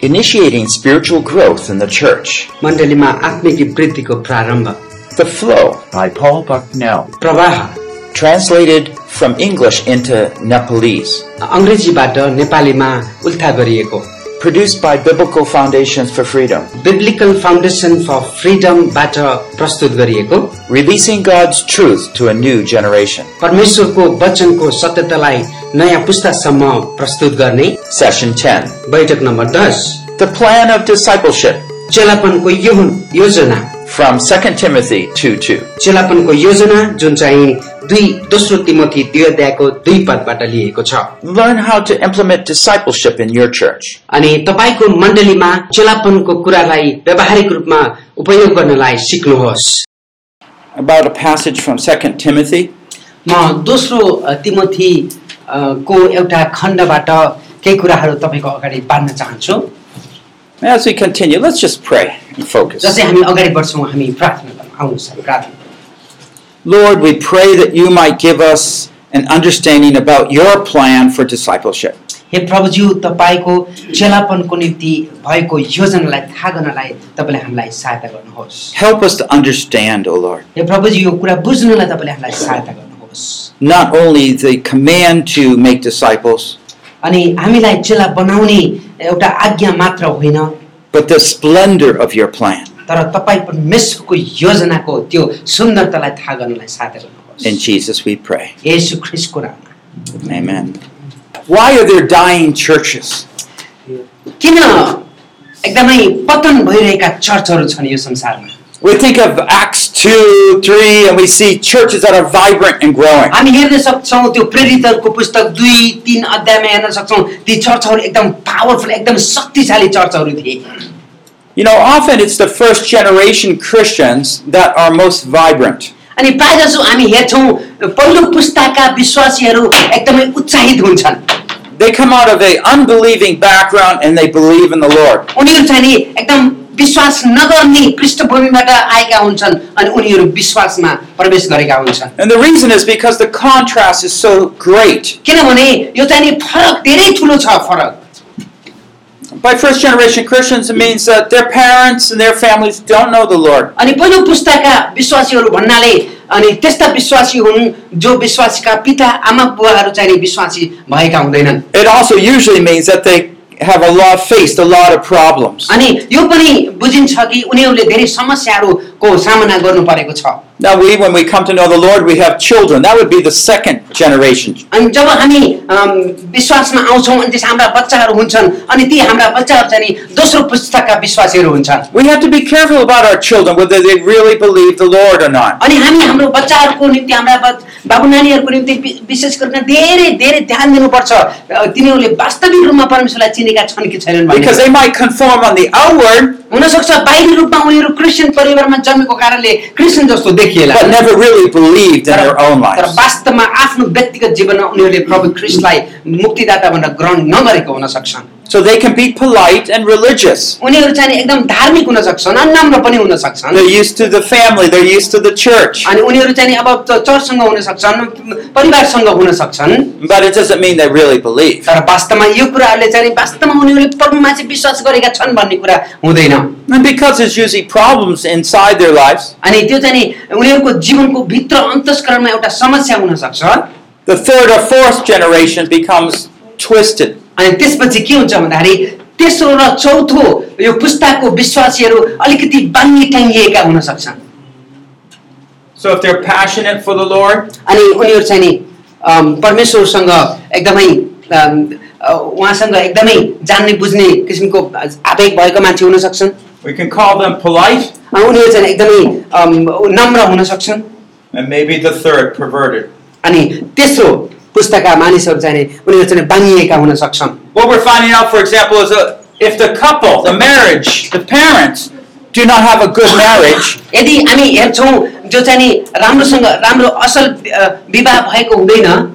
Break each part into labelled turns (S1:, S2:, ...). S1: initiating spiritual growth in the church.
S2: मण्डलीमा आत्मिक वृद्धिको प्रारम्भ
S1: The Flow,
S3: by Paul Bucknell.
S2: प्रवाह
S1: translated from English into Nepalese,
S2: अङ्ग्रेजीबाट नेपालीमा उल्था गरिएको
S1: produced by Biblical Foundations for Freedom,
S2: Biblical foundation for फ्रिडमबाट प्रस्तुत गरिएको
S1: releasing God's truth to a new generation.
S2: परमेश्वरको वचनको सत्यतालाई नयाँ पुस्तासम्म प्रस्तुत गर्ने
S1: Session 10
S2: बैठक नम्बर दस
S1: The Plan of Discipleship
S2: चेलापनको यो योजना
S1: from 2 Timothy 2 2.
S2: चेलापनको योजना जुन चाहिँ दुई दोस्रो तिमोथी दुई अध्यायको दुई पदबाट लिएको छ
S1: Learn how to implement discipleship in your church.
S2: अनि तपाईँको मण्डलीमा चेलापनको कुरालाई व्यावहारिक रूपमा उपयोग गर्नलाई सिक्नुहोस्
S1: About a passage from 2 Timothy,
S4: म दोस्रो अ, तिमोथी अ, को एउटा खण्डबाट केही कुराहरू तपाईँको अगाडि बाँध्न चाहन्छु
S1: as we continue, let's just pray and focus.
S4: जसै हामी अगाडि बढ्छौँ हामी प्रार्थना गर्न आउनुहोस् हामी प्रार्थना गरौँ।
S1: Lord, we pray that you might give us an understanding about your plan for discipleship.
S4: हे प्रभुज्यू तपाईँको चेलापनको निम्ति भएको योजनालाई थाहा गर्नलाई तपाईँले हामीलाई सहायता गर्नुहोस्
S1: Help us to understand, O Lord,
S4: हे प्रभुज्यू यो कुरा बुझ्नलाई तपाईँले हामीलाई सहायता गर्नुहोस्
S1: not only the command to make disciples,
S4: अनि हामीलाई चेला बनाउने एउटा आज्ञा मात्र होइन
S1: but the splendor of your plan.
S4: तर तपाईँ परमेश्वरको योजनाको त्यो सुन्दरतालाई थाहा गर्नलाई सहायता गर्नुहोस्
S1: In Jesus we pray.
S4: येशू ख्रिस्टको नाममा
S1: Amen. Why are there dying churches?
S4: किन एकदमै पतन भइरहेका चर्चहरू छन् यो संसारमा
S1: We think of Acts 2, 3, and we see churches that are vibrant and growing.
S4: हामी हेर्न सक्छौँ त्यो प्रेरितहरूको पुस्तक दुई तिन अध्यायमा हेर्न सक्छौँ ती चर्चहरू एकदम पावरफुल एकदम शक्तिशाली चर्चहरू थिए
S1: You know, often it's the first generation Christians that are most vibrant.
S4: अनि प्रायः जसो हामी हेर्छौँ पहिलो पुस्ताका विश्वासीहरू एकदमै उत्साहित हुन्छन्
S1: They come out of a unbelieving background and they believe in the Lord.
S4: उनीहरू चाहिँ नि एकदम विश्वास नगर्ने पृष्ठभूमिबाट आएका हुन्छन् अनि उनीहरू विश्वासमा प्रवेश गरेका हुन्छन्
S1: And the reason is because the contrast is so great.
S4: किनभने यो चाहिँ नि फरक धेरै ठुलो छ फरक
S1: By first generation Christians, it means that their parents and their families don't know the Lord.
S4: अनि पहिलो पुस्ताका विश्वासीहरू भन्नाले अनि त्यस्ता विश्वासी हुन् जो विश्वासीका पिता आमा बुवाहरू चाहिँ नि विश्वासी भएका हुँदैनन्
S1: It also usually means that they have a lot faced a lot of problems.
S4: अनि यो पनि बुझिन्छ कि उनीहरूले धेरै समस्याहरूको सामना गर्नु परेको छ
S1: Now we when we come to know the Lord, we have children. That would be the second generation.
S4: अनि जब हामी अम, विश्वासमा आउँछौँ अनि त्यसमा हाम्रा बच्चाहरू हुन्छन् अनि ती हाम्रा बच्चाहरू चाहिँ नि दोस्रो पुस्ताका विश्वासीहरू हुन्छन्
S1: We have to be careful about our children whether they really believe the Lord or not.
S4: अनि हामी हाम्रो बच्चाहरूको निम्ति हाम्रा बच- बाबु नानीहरूको निम्ति वि- विशेष गरिकन धेरै धेरै ध्यान दिनुपर्छ अ, तिनीहरूले वास्तविक रूपमा परमेश्वरलाई चिनेका छन् कि छैनन् भन्ने
S1: Because they might conform on the outward
S4: हुनसक्छ बाहिरी रूपमा उनीहरू क्रिस्चियन परिवारमा जन्मेको कारणले क्रिस्चियन जस्तो देखिएला
S1: but never really believed in their own
S4: तर
S1: lives.
S4: वास्तवमा आफ्नो व्यक्तिगत जीवनमा उनीहरूले प्रभु क्रिस्टलाई मुक्तिदाता भनेर ग्रहण नगरेको हुन सक्छन्
S1: So they can be polite and religious.
S4: उनीहरू चाहिँ नि एकदम धार्मिक हुन सक्छन् अनि नम्र पनि हुन सक्छन्
S1: They're used to the family, they're used to the church.
S4: अनि उनीहरू चाहिँ नि अब च- चर्चसँग हुन सक्छन् परिवारसँग हुन सक्छन्
S1: But it doesn't mean they really believe.
S4: तर वास्तवमा यो कुराहरूले चाहिँ नि वास्तवमा उनीहरूले प्रभुमा चाहिँ विश्वास गरेका छन् भन्ने कुरा हुँदैन
S1: And because there's usually problems inside their lives,
S4: अनि त्यो चाहिँ नि उनीहरूको जीवनको भित्र अन्तस्करणमा एउटा समस्या हुन सक्छ
S1: the third or fourth generation becomes twisted.
S4: अनि त्यसपछि के हुन्छ भन्दाखेरि तेस्रो र चौथो यो पुस्ताको विश्वासीहरू अलिकति बाङ्गी टाङ्गिएका हुन सक्छन्
S1: So if they're passionate for the Lord,
S4: अनि उनीहरू चाहिँ नि अम, परमेश्वरसँग एकदमै अम, अ, उहाँसँग एकदमै जान्ने बुझ्ने किसिमको आवेग भएको मान्छे हुन सक्छन्
S1: we can call them polite,
S4: अनि उनीहरू चाहिँ एकदमै अम, नम्र हुन सक्छन्
S1: and maybe the third, perverted.
S4: अनि तेस्रो पुस्ताका मानिसहरू चाहिँ नि उनीहरू चाहिँ नि बाङ्गिएका हुन सक्छन्
S1: What we're finding out, for example, is that if the couple, the marriage, the parents do not have a good marriage,
S4: यदि हामी हेर्छौँ जो चाहिँ नि राम्रोसँग राम्रो असल अ, विवाह भएको हुँदैन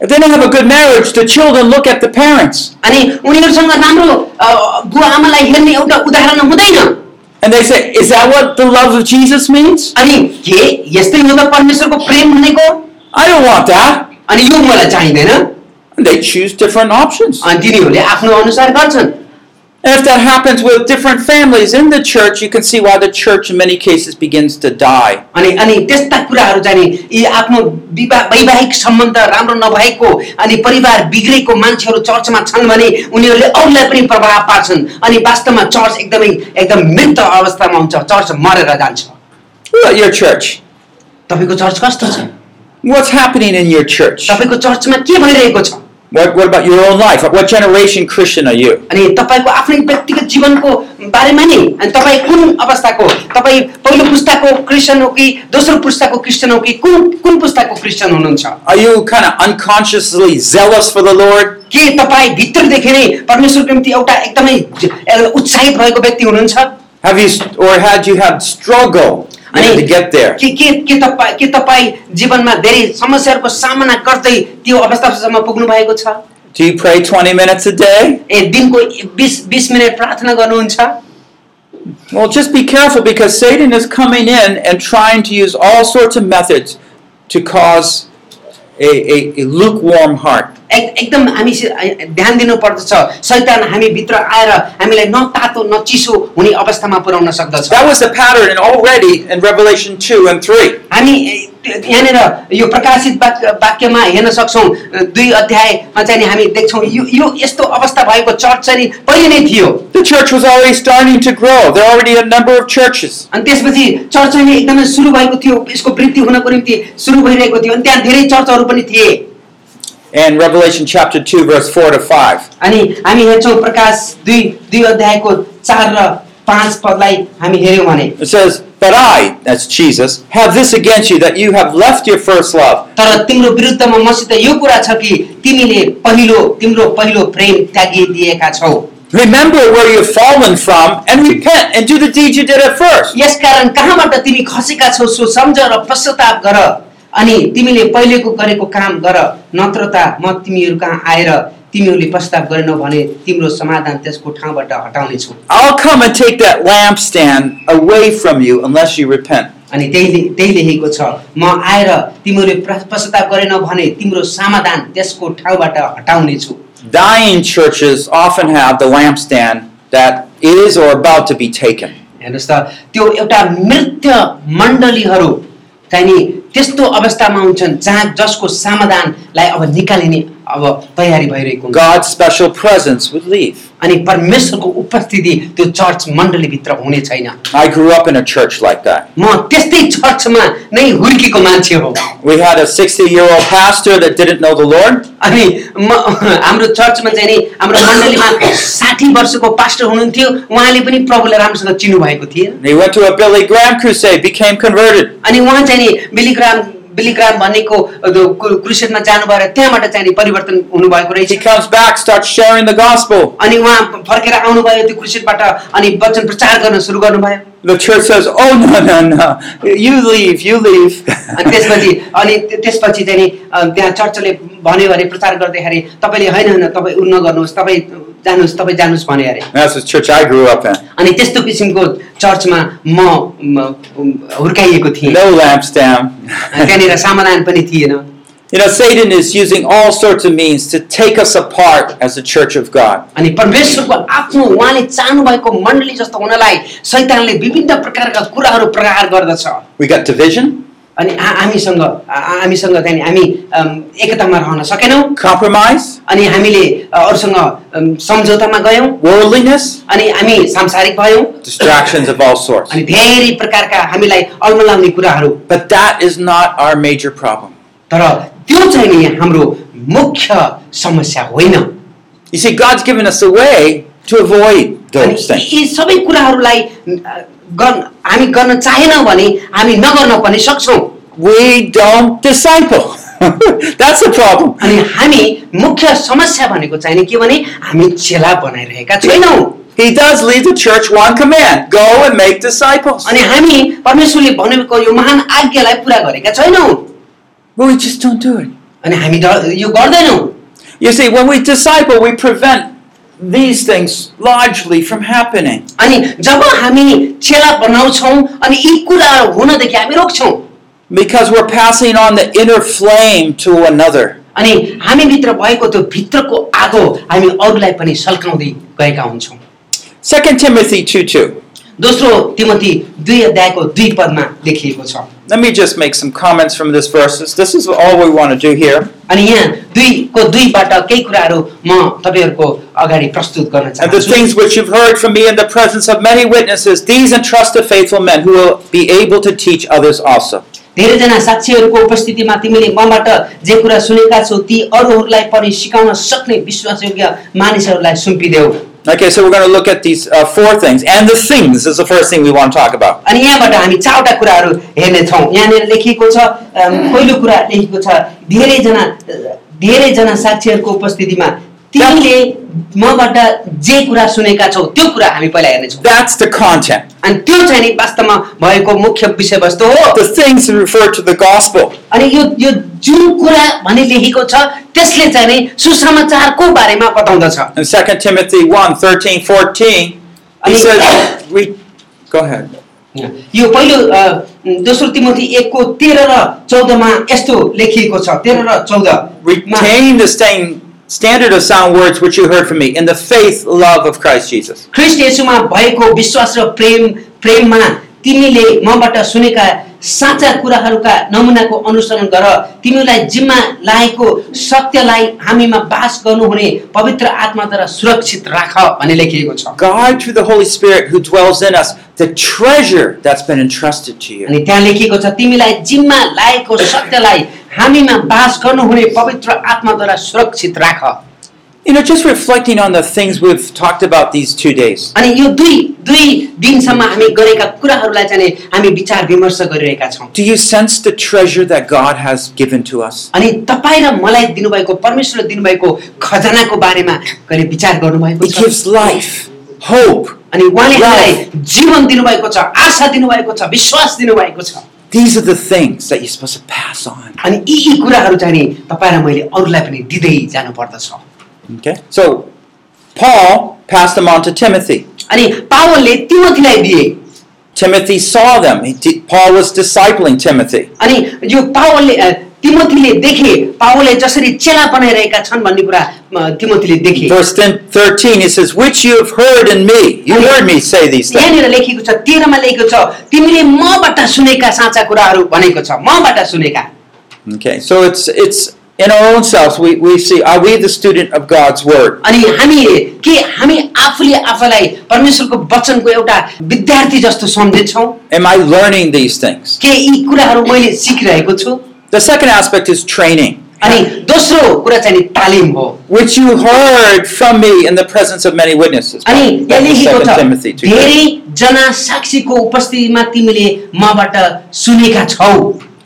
S1: if they don't have a good marriage, the children look at the parents
S4: अनि उनीहरूसँग राम्रो अ, बुवा आमालाई हेर्ने एउटा उदाहरण हुँदैन
S1: and they say, Is that what the love of Jesus means?
S4: अनि के यस्तै हो त परमेश्वरको प्रेम भनेको
S1: I don't want that.
S4: अनि यो मलाई चाहिँदैन
S1: And they choose different options.
S4: अनि तिनीहरूले आफ्नो अनुसार गर्छन्
S1: And if that happens with different families in the church, you can see why the church in many cases begins to die.
S4: अनि अनि त्यस्ता कुराहरू जाने यी आफ्नो विवाह वैवाहिक सम्बन्ध राम्रो नभएको अनि परिवार बिग्रेको मान्छेहरू चर्चमा छन् भने उनीहरूले अरूलाई पनि प्रभाव पार्छन् अनि वास्तवमा चर्च एकदमै एकदम मृत अवस्थामा हुन्छ चर्च मरेर जान्छ
S1: Look at your church.
S4: तपाईँको चर्च कस्तो छ
S1: What's happening in your church?
S4: तपाईँको चर्चमा के भइरहेको छ
S1: What, what about your own life? What generation Christian are you?
S4: अनि तपाईँको आफ्नै व्यक्तिगत जीवनको बारेमा नि अनि तपाईँ कुन अवस्थाको तपाईँ पहिलो पुस्ताको क्रिस्चियन हो कि दोस्रो पुस्ताको क्रिस्चियन हो कि कुन कुन पुस्ताको क्रिस्चियन हुनुहुन्छ
S1: Are you kind of unconsciously zealous for the Lord?
S4: के तपाईँ भित्रदेखि नै परमेश्वरको निम्ति एउटा एकदमै ज- एउटा उत्साहित भएको व्यक्ति हुनुहुन्छ
S1: Have you, or had you had struggle you know, to get there?
S4: के के के तपाईँ के तपाईँ जीवनमा धेरै समस्याहरूको सामना गर्दै त्यो अवस्थासम्म पुग्नु भएको छ
S1: Do you pray 20 minutes a day?
S4: ए दिनको बिस बिस मिनट प्रार्थना गर्नुहुन्छ
S1: Well, just be careful because Satan is coming in and trying to use all sorts of methods to cause a, a, a lukewarm heart.
S4: एक- एकदम हामी सि- ध्यान दिनुपर्दछ शैतान हामी भित्र आएर हामीलाई न तातो न चिसो हुने अवस्थामा पुर्याउन सक्दछ
S1: That was the pattern already in Revelation 2 and 3.
S4: हामी ए, त्यो- यहाँनिर यो प्रकाशित वाक्य वाक्यमा हेर्न सक्छौँ अ, दुई अध्यायमा चाहिँ नि हामी देख्छौँ यो यो यस्तो अवस्था भएको चर्च चाहिँ नि पहिले नै थियो
S1: The church was already starting to grow. There are already a number of churches.
S4: अनि त्यसपछि चर्च चाहिँ नि एकदमै सुरु भएको थियो यसको वृद्धि हुनको निम्ति सुरु भइरहेको थियो अनि त्यहाँ धेरै चर्चहरू पनि थिए
S1: And Revelation chapter 2, verse 4 to 5.
S4: अनि हामी हेर्छौँ प्रकाश दुई दुई अध्यायको चार र पाँच पदलाई हामी हेऱ्यौँ भने
S1: It says, But I, that's Jesus, have this against you that you have left your first love.
S4: तर तिम्रो विरुद्धमा मसित यो कुरा छ कि तिमीले पहिलो तिम्रो पहिलो प्रेम त्यागिदिएका छौ
S1: Remember where you've fallen from and repent and do the deeds you did at first.
S4: यसकारण कहाँबाट तिमी खसेका छौ सो सम्झ र पश्चाताप गर अनि तिमीले पहिलेको गरेको काम गर नत्र त म तिमीहरू कहाँ आएर तिमीहरूले पश्चाताप गरेनौ भने तिम्रो समाधान त्यसको ठाउँबाट हटाउनेछु
S1: I'll come and take that lampstand away from you unless you repent.
S4: अनि त्यही त्यही लेखेको छ म आएर तिमीहरूले प्र- पश्चाताप गरेनौ भने तिम्रो समाधान त्यसको ठाउँबाट हटाउनेछु
S1: Dying churches often have the lampstand that is or about to be taken.
S4: हेर्नुहोस् त त्यो एउटा मृत्य मण्डलीहरू चाहिँ नि त्यस्तो अवस्थामा हुन्छन् जहाँ जसको समाधानलाई अब निकालिने अब तयारी भइरहेको हुन्छ
S1: God's special presence would leave.
S4: अनि परमेश्वरको उपस्थिति त्यो चर्च मण्डलीभित्र हुने छैन
S1: I grew up in a church like that.
S4: म त्यस्तै चर्चमा नै हुर्किएको मान्छे हो
S1: We had a 60 year old pastor that didn't know the Lord.
S4: अनि म हाम्रो चर्चमा चाहिँ नि हाम्रो मण्डलीमा साठी वर्षको पास्टर हुनुहुन्थ्यो उहाँले पनि प्रभुलाई राम्रोसँग चिन्नु भएको थिएन
S1: He went to a Billy Graham crusade, became converted.
S4: अनि उहाँ चाहिँ नि बिलिग्राम बिलिग्राम भन्नेको क्रुसेडमा जानुभएर त्यहाँबाट चाहिँ नि परिवर्तन हुनुभएको
S1: He
S4: रहेछ
S1: comes back, starts sharing the gospel.
S4: अनि उहाँ फर्केर आउनुभयो त्यो क्रुसेडबाट अनि वचन प्रचार गर्न सुरु गर्नुभयो
S1: The church says, Oh, no, no, no. You leave, you leave.
S4: अनि त्यसपछि अनि त्य- त्यसपछि चाहिँ नि अ, त्यहाँ चर्चले भन्यो अरे प्रचार गर्दाखेरि तपाईँले होइन होइन तपाईँ उ नगर्नुहोस् तपाईँ जानुहोस् तपाईँ जानुहोस् भने अरे
S1: That's the church I grew up in.
S4: अनि त्यस्तो किसिमको चर्चमा म म, हुर्काइएको थिएँ
S1: No lampstand.
S4: अनि त्यहाँनिर समाधान पनि थिएन
S1: You know, Satan is using all sorts of means to take us apart as the church of God.
S4: अनि परमेश्वरको आफ्नो उहाँले चाहनुभएको मण्डली जस्तो हुनलाई शैतानले विभिन्न प्रकारका कुराहरू प्रहार गर्दछ
S1: We got division,
S4: अनि हा- हामीसँग हा- हामीसँग त्यहाँनिर हामी अम, एकतामा रहन सकेनौँ
S1: compromise,
S4: अनि हामीले अ, अरूसँग अम, सम्झौतामा गयौँ
S1: worldliness,
S4: अनि हामी सांसारिक भयौँ
S1: distractions of all sorts.
S4: अनि धेरै प्रकारका हामीलाई अल्मलाउने कुराहरू
S1: But that is not our major problem.
S4: तर त्यो चाहिँ नि हाम्रो मुख्य समस्या होइन
S1: You see, God's given us a way to avoid
S4: अनि
S1: those things.
S4: यी सबै कुराहरूलाई अ, गर्न हामी गर्न चाहेनौँ भने हामी नगर्न पनि सक्छौँ
S1: We don't disciple. That's the problem.
S4: अनि हामी मुख्य समस्या भनेको चाहिँ नि के भने हामी चेला बनाइरहेका छैनौँ
S1: He does leave the church one command go and make disciples.
S4: अनि हामी परमेश्वरले भनेको यो महान आज्ञालाई पुरा गरेका छैनौँ
S1: But we just don't do it.
S4: अनि हामी ड- यो गर्दैनौँ
S1: You see, when we disciple, we prevent these things largely from happening.
S4: अनि जब हामी चेला बनाउँछौँ अनि यी कुराहरू हुनदेखि हामी रोक्छौँ
S1: Because we're passing on the inner flame to another.
S4: अनि हामीभित्र भएको त्यो भित्रको आगो हामी अरूलाई पनि सल्काउँदै गएका हुन्छौँ
S1: 2 Timothy 2 2.
S4: दोस्रो तिमती दुई अध्यायको दुई पदमा लेखिएको छ
S1: Let me just make some comments from this verses. This is all we want to do here.
S4: अनि यहाँ दुईको दुईबाट केही कुराहरू म तपाईँहरूको अगाडि प्रस्तुत गर्न
S1: And the
S4: चाहन्छु
S1: things which you've heard from me in the presence of many witnesses, these entrust to faithful men who will be able to teach others also.
S4: धेरैजना साक्षीहरूको उपस्थितिमा तिमीले मबाट जे कुरा सुनेका छौ ती अरूहरूलाई पनि सिकाउन सक्ने विश्वासयोग्य मानिसहरूलाई सुम्पिदेऊ
S1: Okay, so we're going to look at these uh, four things. And the things is the first thing we want to talk about.
S4: अनि यहाँबाट हामी चारवटा कुराहरू हेर्नेछौँ यहाँनिर लेखिएको छ अम, पहिलो कुरा लेखेको छ धेरैजना धेरैजना साक्षीहरूको उपस्थितिमा तिमीले मबाट जे कुरा सुनेका छौ त्यो कुरा हामी पहिला हेर्नेछौँ
S1: That's the content.
S4: अनि त्यो चाहिँ नि वास्तवमा भएको मुख्य विषयवस्तु हो
S1: The things refer to the gospel.
S4: अनि यो यो जुन कुरा भने लेखेको छ त्यसले चाहिँ नि सुसमाचारको बारेमा बताउँदछ
S1: In 2 Timothy 1 13, 14, he says, we, Go ahead.
S4: यो पहिलो अ, दोस्रो तिमोथी एकको तेह्र र चौधमा यस्तो लेखिएको छ तेह्र र चौधमा
S1: Retain the same standard of sound words which you heard from me in the faith, love of Christ Jesus.
S4: Christ येशूमा भएको विश्वास र प्रेम प्रेममा तिमीले मबाट सुनेका साँचा कुराहरूका नमुनाको अनुसरण गर तिमीलाई जिम्मा लागेको सत्यलाई हामीमा बास गर्नुहुने पवित्र आत्माद्वारा सुरक्षित राख भन्ने लेखिएको छ
S1: Guard through the Holy Spirit who dwells in us the treasure that's been entrusted to you.
S4: अनि त्यहाँ लेखिएको छ तिमीलाई जिम्मा लागेको सत्यलाई हामीमा बास गर्नुहुने पवित्र आत्माद्वारा सुरक्षित राख
S1: You know, just reflecting on the things we've talked about these two days.
S4: अनि यो दुई दुई दिनसम्म हामी गरेका कुराहरूलाई चाहिँ नि हामी विचार विमर्श गरिरहेका छौँ
S1: Do you sense the treasure that God has given to us?
S4: अनि तपाईँ र मलाई दिनुभएको परमेश्वरले दिनुभएको खजनाको बारेमा कहिले विचार गर्नुभएको
S1: It
S4: छ
S1: gives life, hope.
S4: अनि उहाँले हामीलाई जीवन दिनुभएको छ आशा दिनुभएको छ विश्वास दिनुभएको छ
S1: These are the things that you're supposed to pass on.
S4: अनि यी यी कुराहरू चाहिँ नि तपाईँ र मैले अरूलाई पनि दिँदै जानुपर्दछ
S1: Okay? So, Paul passed them on to Timothy.
S4: अनि पावलले तिमोथीलाई दिए
S1: Timothy saw them. He di- Paul was discipling Timothy.
S4: अनि यो पावलले अ, तिमोथीले देखे पावलले जसरी चेला बनाइरहेका छन् भन्ने कुरा अ, तिमोथीले देखे
S1: Verse 10, 13, he says, Which you have heard in me. You heard me say these things.
S4: यहाँनिर लेखेको छ तेह्रमा लेखेको छ तिमीले मबाट सुनेका साँचा कुराहरू भनेको छ मबाट सुनेका
S1: Okay, so it's, it's in our own selves. We, we see, are we the student of God's word?
S4: अनि हामी के हामी आफूले आफूलाई परमेश्वरको वचनको एउटा विद्यार्थी जस्तो सम्झन्छौँ
S1: Am I learning these things?
S4: के यी कुराहरू मैले सिकिरहेको छु
S1: The second aspect is training,
S4: अनि दोस्रो कुरा चाहिँ नि तालिम हो
S1: which you heard from me in the presence of many witnesses.
S4: अनि यहाँ
S1: That's
S4: लेखेको
S1: 2
S4: छ
S1: Timothy 2.
S4: धेरैजना साक्षीको उपस्थितिमा तिमीले मबाट सुनेका छौ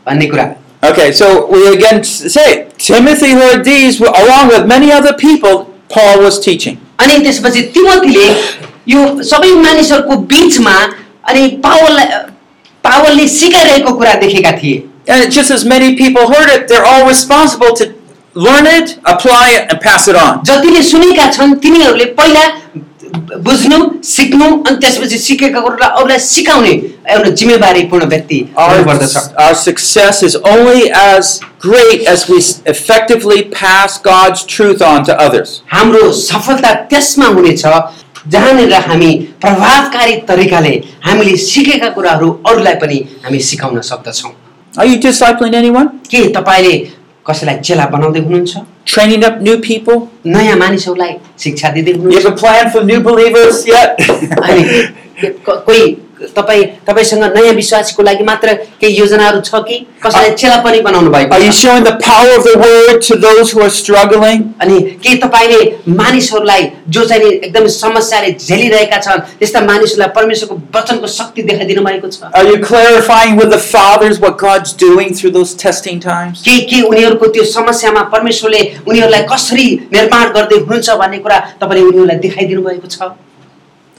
S4: भन्ने कुरा
S1: Okay, so we again s- say Timothy heard these wi- along with many other people Paul was teaching.
S4: अनि त्यसपछि तिमोथीले यो सबै मानिसहरूको बिचमा अनि पावललाई पावलले सिकाइरहेको कुरा देखेका थिए
S1: And just as many people heard it, they're all responsible to learn it, apply it, and pass it on.
S4: जतिले सुनेका छन् तिनीहरूले पहिला बुझ्नु सिक्नु अनि त्यसपछि सिकेका कुरालाई अरूलाई सिकाउने एउटा जिम्मेवारीपूर्ण व्यक्ति
S1: Our,
S4: हुनुपर्दछ
S1: our success is only as great as we s- effectively pass God's truth on to others.
S4: हाम्रो सफलता त्यसमा हुनेछ जहाँनिर हामी प्रभावकारी तरिकाले हामीले सिकेका कुराहरू अरूलाई पनि हामी सिकाउन सक्दछौँ
S1: Are you discipling anyone?
S4: के तपाईँले कसैलाई चेला बनाउँदै हुनुहुन्छ
S1: Training up new people?
S4: नयाँ मानिसहरूलाई शिक्षा दिँदै
S1: You
S4: हुनुहुन्छ
S1: have a plan for new believers yet?
S4: अनि को- कोही तपाईँ तपाईँसँग नयाँ विश्वासको लागि मात्र केही योजनाहरू छ कि कसैलाई चेला पनि बनाउनु भएको
S1: Are you
S4: छ?
S1: showing the power of the word to those who are struggling?
S4: अनि के तपाईँले मानिसहरूलाई जो चाहिँ नि एकदम समस्याले झेलिरहेका छन् त्यस्ता मानिसहरूलाई परमेश्वरको वचनको शक्ति देखाइदिनु भएको छ
S1: Are you clarifying with the fathers what God's doing through those testing times?
S4: के के उनीहरूको त्यो समस्यामा परमेश्वरले उनीहरूलाई कसरी निर्माण गर्दै हुनुहुन्छ भन्ने कुरा तपाईँले उनीहरूलाई देखाइदिनु भएको छ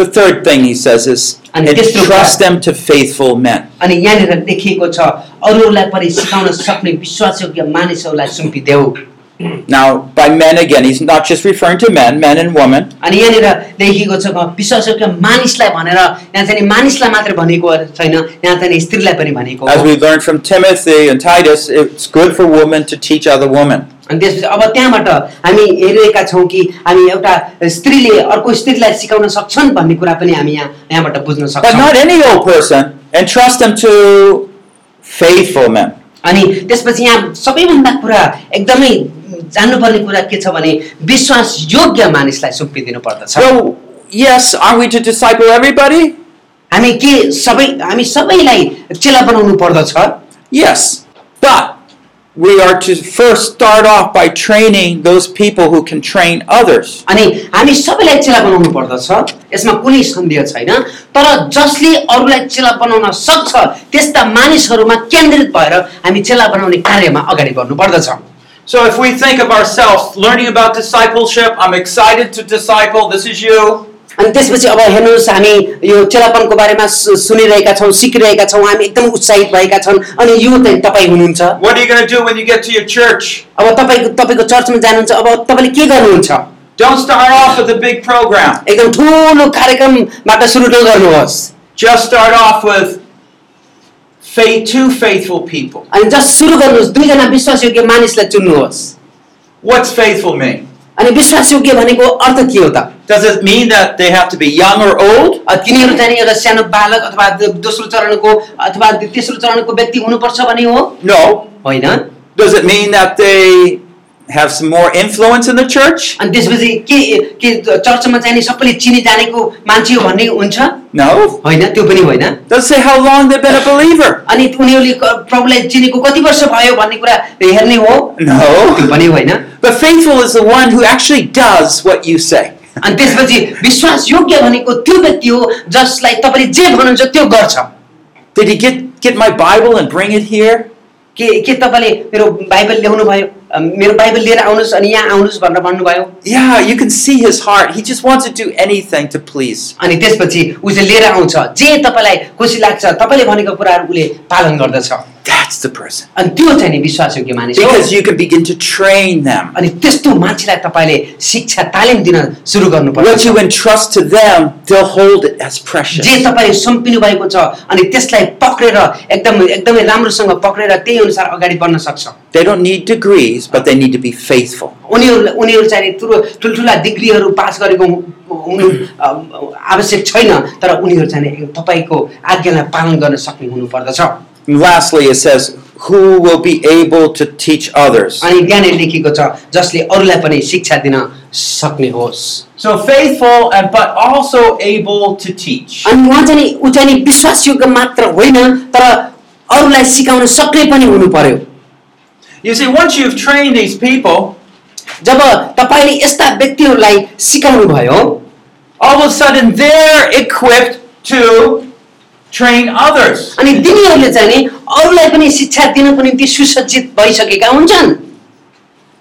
S1: The third thing he says is
S4: And this is
S1: entrust them to faithful men.
S4: अनि यहाँनिर लेखिएको छ अरूहरूलाई पनि सिकाउन सक्ने विश्वासयोग्य मानिसहरूलाई सुम्पिदेऊ
S1: Now, by men again, he's not just referring to men, men and women.
S4: अनि यहाँनिर लेखिएको छ विश्वासका मानिसलाई भनेर यहाँ चाहिँ नि मानिसलाई मात्र भनेको छैन यहाँ चाहिँ नि स्त्रीलाई पनि भनेको
S1: As
S4: हो।
S1: we learned from Timothy and Titus, it's good for women to teach other women.
S4: अनि त्यसपछि अब त्यहाँबाट हामी हेरिरहेका छौँ कि हामी एउटा स्त्रीले अर्को स्त्रीलाई सिकाउन सक्छन् भन्ने कुरा पनि हामी यहाँ यहाँबाट बुझ्न
S1: But not
S4: सक्छौँ
S1: any old person, and trust them to faithful men.
S4: अनि त्यसपछि यहाँ सबैभन्दा कुरा एकदमै जान्नुपर्ने कुरा के छ भने विश्वास योग्य मानिसलाई सुम्पिदिनु पर्दछ
S1: So, yes, are we to disciple everybody?
S4: हामी के सबै हामी सबैलाई चेला बनाउनु पर्दछ
S1: Yes. But we are to first start off by training those people who can train others.
S4: अनि हामी सबैलाई चेला बनाउनु पर्दछ यसमा कुनै सन्देह छैन तर जसले अरूलाई चेला बनाउन सक्छ त्यस्ता मानिसहरूमा केन्द्रित भएर हामी चेला बनाउने कार्यमा अगाडि बढ्नु पर्दछ
S3: So if we think of ourselves learning about discipleship, I'm excited to disciple, this is you.
S4: अनि त्यसपछि अब हेर्नुहोस् हामी यो चेलापनको बारेमा सु- सुनिरहेका छौँ सिकिरहेका छौँ हामी एकदम उत्साहित भएका छौँ अनि यो चाहिँ तपाईँ हुनुहुन्छ
S3: What are you going to do when you get to your church?
S4: अब तपाईँको तपाईँको चर्चमा जानुहुन्छ अब तपाईँले के गर्नुहुन्छ
S3: Don't start off with a big program.
S4: एकदम ठुलो कार्यक्रमबाट सुरु नगर्नुहोस्
S3: Just start off with faith, two faithful people.
S4: अनि जस्ट सुरु गर्नुहोस् दुईजना विश्वासयोग्य मानिसलाई चुन्नुहोस्
S3: What's faithful mean?
S4: अनि विश्वासयोग्य भनेको अर्थ के हो त
S1: Does it mean that they have to be young or old?
S4: अ, तिनीहरू चाहिँ नि एउटा सानो बालक अथवा दो- दोस्रो चरणको अथवा तेस्रो चरणको व्यक्ति हुनुपर्छ भने हो
S1: No.
S4: होइन अनि
S1: Does it mean that they have some more influence in the church?
S4: त्यसपछि के के चर्चमा चाहिँ नि सबैले चिनी जानेको मान्छे हो भन्ने हुन्छ
S1: No.
S4: होइन त्यो पनि होइन
S1: Does it say how long they've been a believer?
S4: अनि उनीहरूले क- प्रभुलाई चिनेको कति वर्ष भयो भन्ने कुरा हेर्ने हो त्यो
S1: No.
S4: पनि होइन
S1: But faithful is the one who actually does what you say.
S4: अनि त्यसपछि विश्वास योग्य भनेको त्यो व्यक्ति हो जसलाई तपाईँले जे भन्नुहुन्छ त्यो गर्छ
S1: Did he get, get my Bible and bring it here?
S4: के के तपाईँले मेरो बाइबल ल्याउनु भयो अ, मेरो बाइबल लिएर आउनुहोस् अनि यहाँ आउनुहोस् भनेर भन्नुभयो
S1: Yeah, you can see his heart. He just wants to do anything to please.
S4: अनि त्यसपछि उसले लिएर आउँछ जे तपाईँलाई खुसी लाग्छ तपाईँले भनेको कुराहरू उसले पालन गर्दछ
S1: That's the person.
S4: अनि त्यो चाहिँ नि विश्वासयोग्य मानिस हो।
S1: Because you can begin to train them.
S4: अनि त्यस्तो मान्छेलाई तपाईँले शिक्षा तालिम दिन सुरु गर्नु पर्छ
S1: What you entrust to them, they'll hold it as precious.
S4: जे तपाईँले सुम्पिनु भएको छ अनि त्यसलाई पक्रेर एकदम एकदमै राम्रोसँग पक्रेर त्यही अनुसार अगाडि बढ्न सक्छ
S1: They don't need degrees, but they need to be faithful.
S4: उनीहरू उनीहरू चाहिँ नि ठुलो ठुल्ठुला डिग्रीहरू पास गरेको हु- हुनु अ, आवश्यक छैन तर उनीहरू चाहिँ नि तपाईँको आज्ञालाई पालन गर्न सक्ने हुनुपर्दछ
S1: And lastly, it says, who will be able to teach others?
S4: अनि त्यहाँनिर लेखिएको छ जसले अरूलाई पनि शिक्षा दिन सक्ने होस्
S3: So faithful and but also able to teach.
S4: अनि उहाँ चाहिँ नि ऊ चाहिँ नि विश्वासयोग्य मात्र होइन तर अरूलाई सिकाउन सक्ने पनि हुनु पर्यो
S3: You see, once you've trained these people,
S4: जब तपाईँले यस्ता व्यक्तिहरूलाई सिकाउनु भयो
S3: all of a sudden they're equipped to train others.
S4: अनि तिनीहरूले चाहिँ नि अरूलाई पनि शिक्षा दिनको निम्ति सुसज्जित भइसकेका हुन्छन्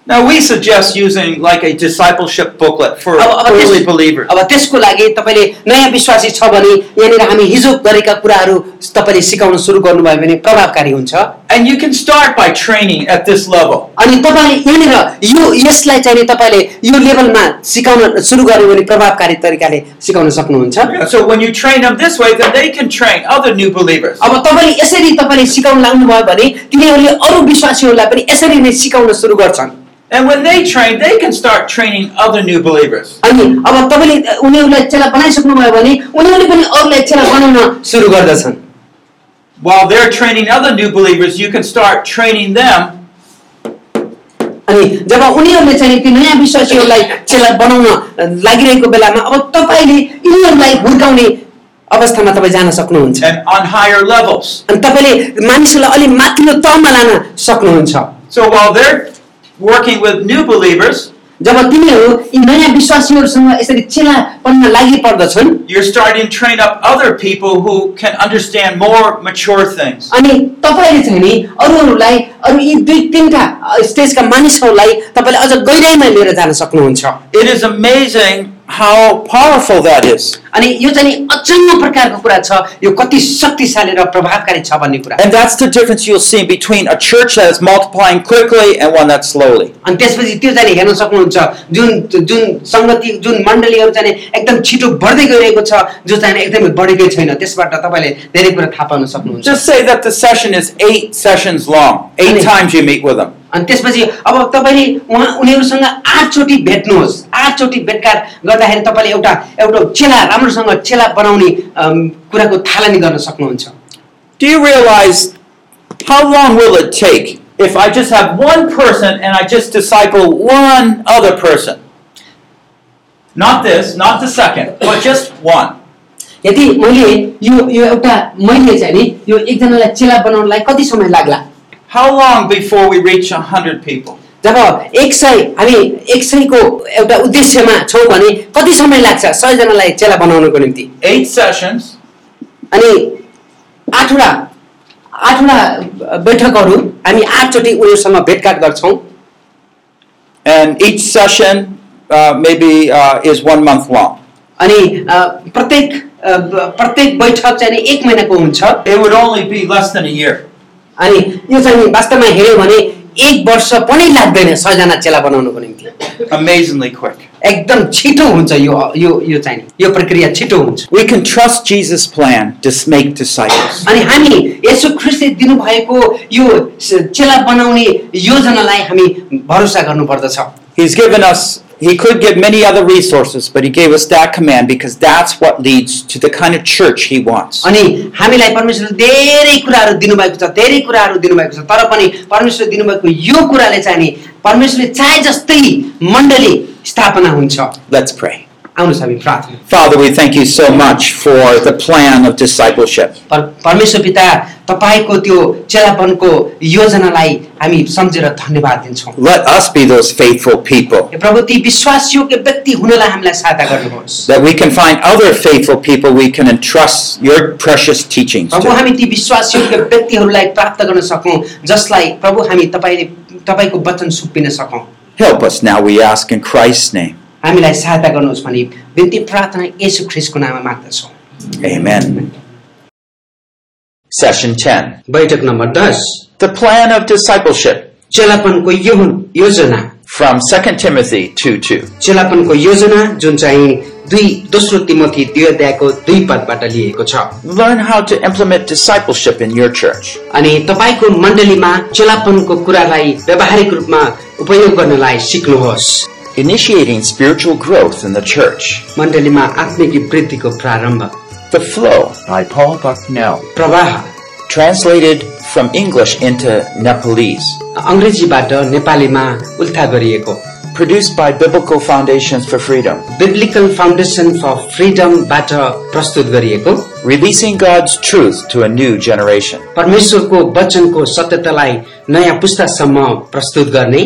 S3: Now we suggest using like a discipleship booklet for
S4: अब अब त्यस-
S3: early believers.
S4: अब त्यसको लागि तपाईँले नयाँ विश्वासी छ भने यहाँनिर हामी हिजो गरेका कुराहरू तपाईँले सिकाउन सुरु गर्नुभयो भने प्रभावकारी हुन्छ
S3: And you can start by training at this level.
S4: अनि तपाईँले यहाँनिर यो यसलाई चाहिँ नि तपाईँले यो लेभलमा सिकाउन सुरु गर्यो भने प्रभावकारी तरिकाले सिकाउन सक्नुहुन्छ
S3: And so when you train them this way, then they can train other new believers.
S4: अब तपाईँले यसरी तपाईँले सिकाउन लाग्नु भयो भने तिनीहरूले अरू विश्वासीहरूलाई पनि यसरी नै सिकाउन सुरु गर्छन्
S3: And when they train, they can start training other new believers.
S4: अनि अब तपाईँले उनीहरूलाई चेला बनाइसक्नुभयो भने उनीहरूले पनि अरूलाई चेला बनाउन सुरु गर्दछन्
S3: While they're training other new believers, you can start training them
S4: अनि जब उनीहरूले चाहिँ नि ती नयाँ विश्वासीहरूलाई चेला बनाउन लागिरहेको बेलामा अब तपाईँले यिनीहरूलाई हुर्काउने अवस्थामा तपाईँ जान सक्नुहुन्छ
S3: and on higher levels.
S4: अनि तपाईँले मानिसहरूलाई अलिक माथिल्लो तहमा लान सक्नुहुन्छ
S3: So while they're working with new believers,
S4: जब तिनीहरू यी नयाँ विश्वासीहरूसँग यसरी चेला पन्न लागि पर्दछन्
S3: you're starting to train up other people who can understand more mature things.
S4: अनि तपाईँले चाहिँ नि अरूहरूलाई अरू यी दुई तिनवटा स्टेजका मानिसहरूलाई तपाईँले अझ गहिराइमा लिएर जान सक्नुहुन्छ
S3: It is amazing
S1: how powerful that is.
S4: अनि यो चाहिँ नि अचम्म प्रकारको कुरा छ यो कति शक्तिशाली र प्रभावकारी छ भन्ने कुरा
S1: And that's the difference you'll see between a church that is multiplying quickly and one that's slowly.
S4: अनि त्यसपछि त्यो चाहिँ नि हेर्न सक्नुहुन्छ जुन जुन सङ्गति जुन मण्डलीहरू चाहिँ नि एकदम छिटो बढ्दै गइरहेको छ जो चाहिँ नि एकदमै बढेकै छैन त्यसबाट तपाईँले धेरै कुरा थाहा पाउन सक्नुहुन्छ
S1: Just say that the session is eight sessions long, eight
S4: Really?
S1: times you meet with them.
S4: अनि त्यसपछि अब तपाईँले उहाँ उनीहरूसँग आठचोटि भेट्नुहोस् आठचोटि भेटघाट गर्दाखेरि तपाईँले एउटा एउटा चेला राम्रोसँग चेला बनाउने अम, कुराको थालनी गर्न सक्नुहुन्छ
S1: Do you realize how long will it take if I just have one person and I just disciple one other person?
S3: Not this, not the second, but just one.
S2: यदि मैले यो यो एउटा मैले चाहिँ नि यो एकजनालाई चेला बनाउनलाई कति समय लाग्ला
S3: How long before we reach 100 people?
S2: जब एक सय हामी एक सयको एउटा उद्देश्यमा छौँ भने कति समय लाग्छ सयजनालाई चेला बनाउनको निम्ति
S3: Eight sessions,
S2: अनि आठवटा आठवटा बैठकहरू हामी आठचोटि उनीहरूसँग भेटघाट गर्छौँ
S1: And each session uh, maybe uh, is one month long.
S4: अनि अ, प्रत्येक अ, ब- प्रत्येक बैठक चाहिँ नि एक महिनाको हुन्छ
S3: it would only be less than a year.
S2: अनि यो चाहिँ नि वास्तवमा हेऱ्यौँ भने एक वर्ष पनि लाग्दैन सयजना चेला बनाउनको निम्ति
S3: Amazingly quick.
S4: एकदम छिटो हुन्छ यो यो यो चाहिँ नि यो प्रक्रिया छिटो हुन्छ
S1: We can trust Jesus' plan to make disciples.
S4: अनि हामी यसो ख्रिस्टले दिनुभएको यो स- चेला बनाउने योजनालाई हामी भरोसा गर्नुपर्दछ
S1: He's given us, he could give many other resources, but he gave us that command because that's what leads to the kind of church he wants.
S4: अनि हामीलाई परमेश्वरले धेरै कुराहरू दिनुभएको छ धेरै कुराहरू दिनुभएको छ तर पनि परमेश्वरले दिनुभएको यो कुराले चाहिँ नि परमेश्वरले चाहे जस्तै मण्डली स्थापना हुन्छ
S1: Let's pray.
S4: आउनुहोस् हामी प्रार्थना
S1: Father, we thank you so much for the plan of discipleship.
S4: पर परमेश्वर पिता तपाईँको त्यो चेलापनको योजनालाई हामी सम्झेर धन्यवाद दिन्छौँ
S1: Let us be those faithful people,
S4: हे प्रभु ती विश्वासयोग्य व्यक्ति हुनलाई हामीलाई सहायता गर्नुहोस्
S1: that we can find other faithful people we can entrust your precious teachings
S4: Prabhu
S1: to.
S4: हामी ती विश्वासयोग्य व्यक्तिहरूलाई प्राप्त गर्न सकौँ जसलाई प्रभु हामी तपाईँले तपाईँको वचन सुपिन सकौँ
S1: Help us now, we ask in Christ's name.
S4: हामीलाई सहायता गर्नुहोस् भनी बिन्ती प्रार्थना यसु ख्रिस्टको नाममा माग्दछौँ
S1: Amen. Session 10
S2: बैठक नम्बर दस
S1: The plan of discipleship
S2: चेलापनको यो योजना
S1: from 2 Timothy 2 2.
S2: चेलापनको योजना जुन चाहिँ दुई दोस्रो तिमोथी दुई अध्यायको दुई पदबाट लिएको छ
S1: Learn how to implement discipleship in your church.
S2: अनि तपाईँको मण्डलीमा चेलापनको कुरालाई व्यावहारिक रूपमा उपयोग गर्नलाई सिक्नुहोस्
S1: Initiating spiritual growth in the church.
S2: मण्डलीमा आत्मिक वृद्धिको प्रारम्भ
S1: The Flow by Paul Bucknell.
S2: प्रवाह
S1: Translated from English into Nepalese.
S2: अङ्ग्रेजीबाट नेपालीमा उल्था गरिएको
S1: Produced by Biblical Foundations for Freedom.
S2: Biblical foundation for फ्रिडमबाट प्रस्तुत गरिएको
S1: Releasing God's truth to a new generation.
S2: परमेश्वरको वचनको सत्यतालाई नयाँ पुस्तासम्म प्रस्तुत गर्ने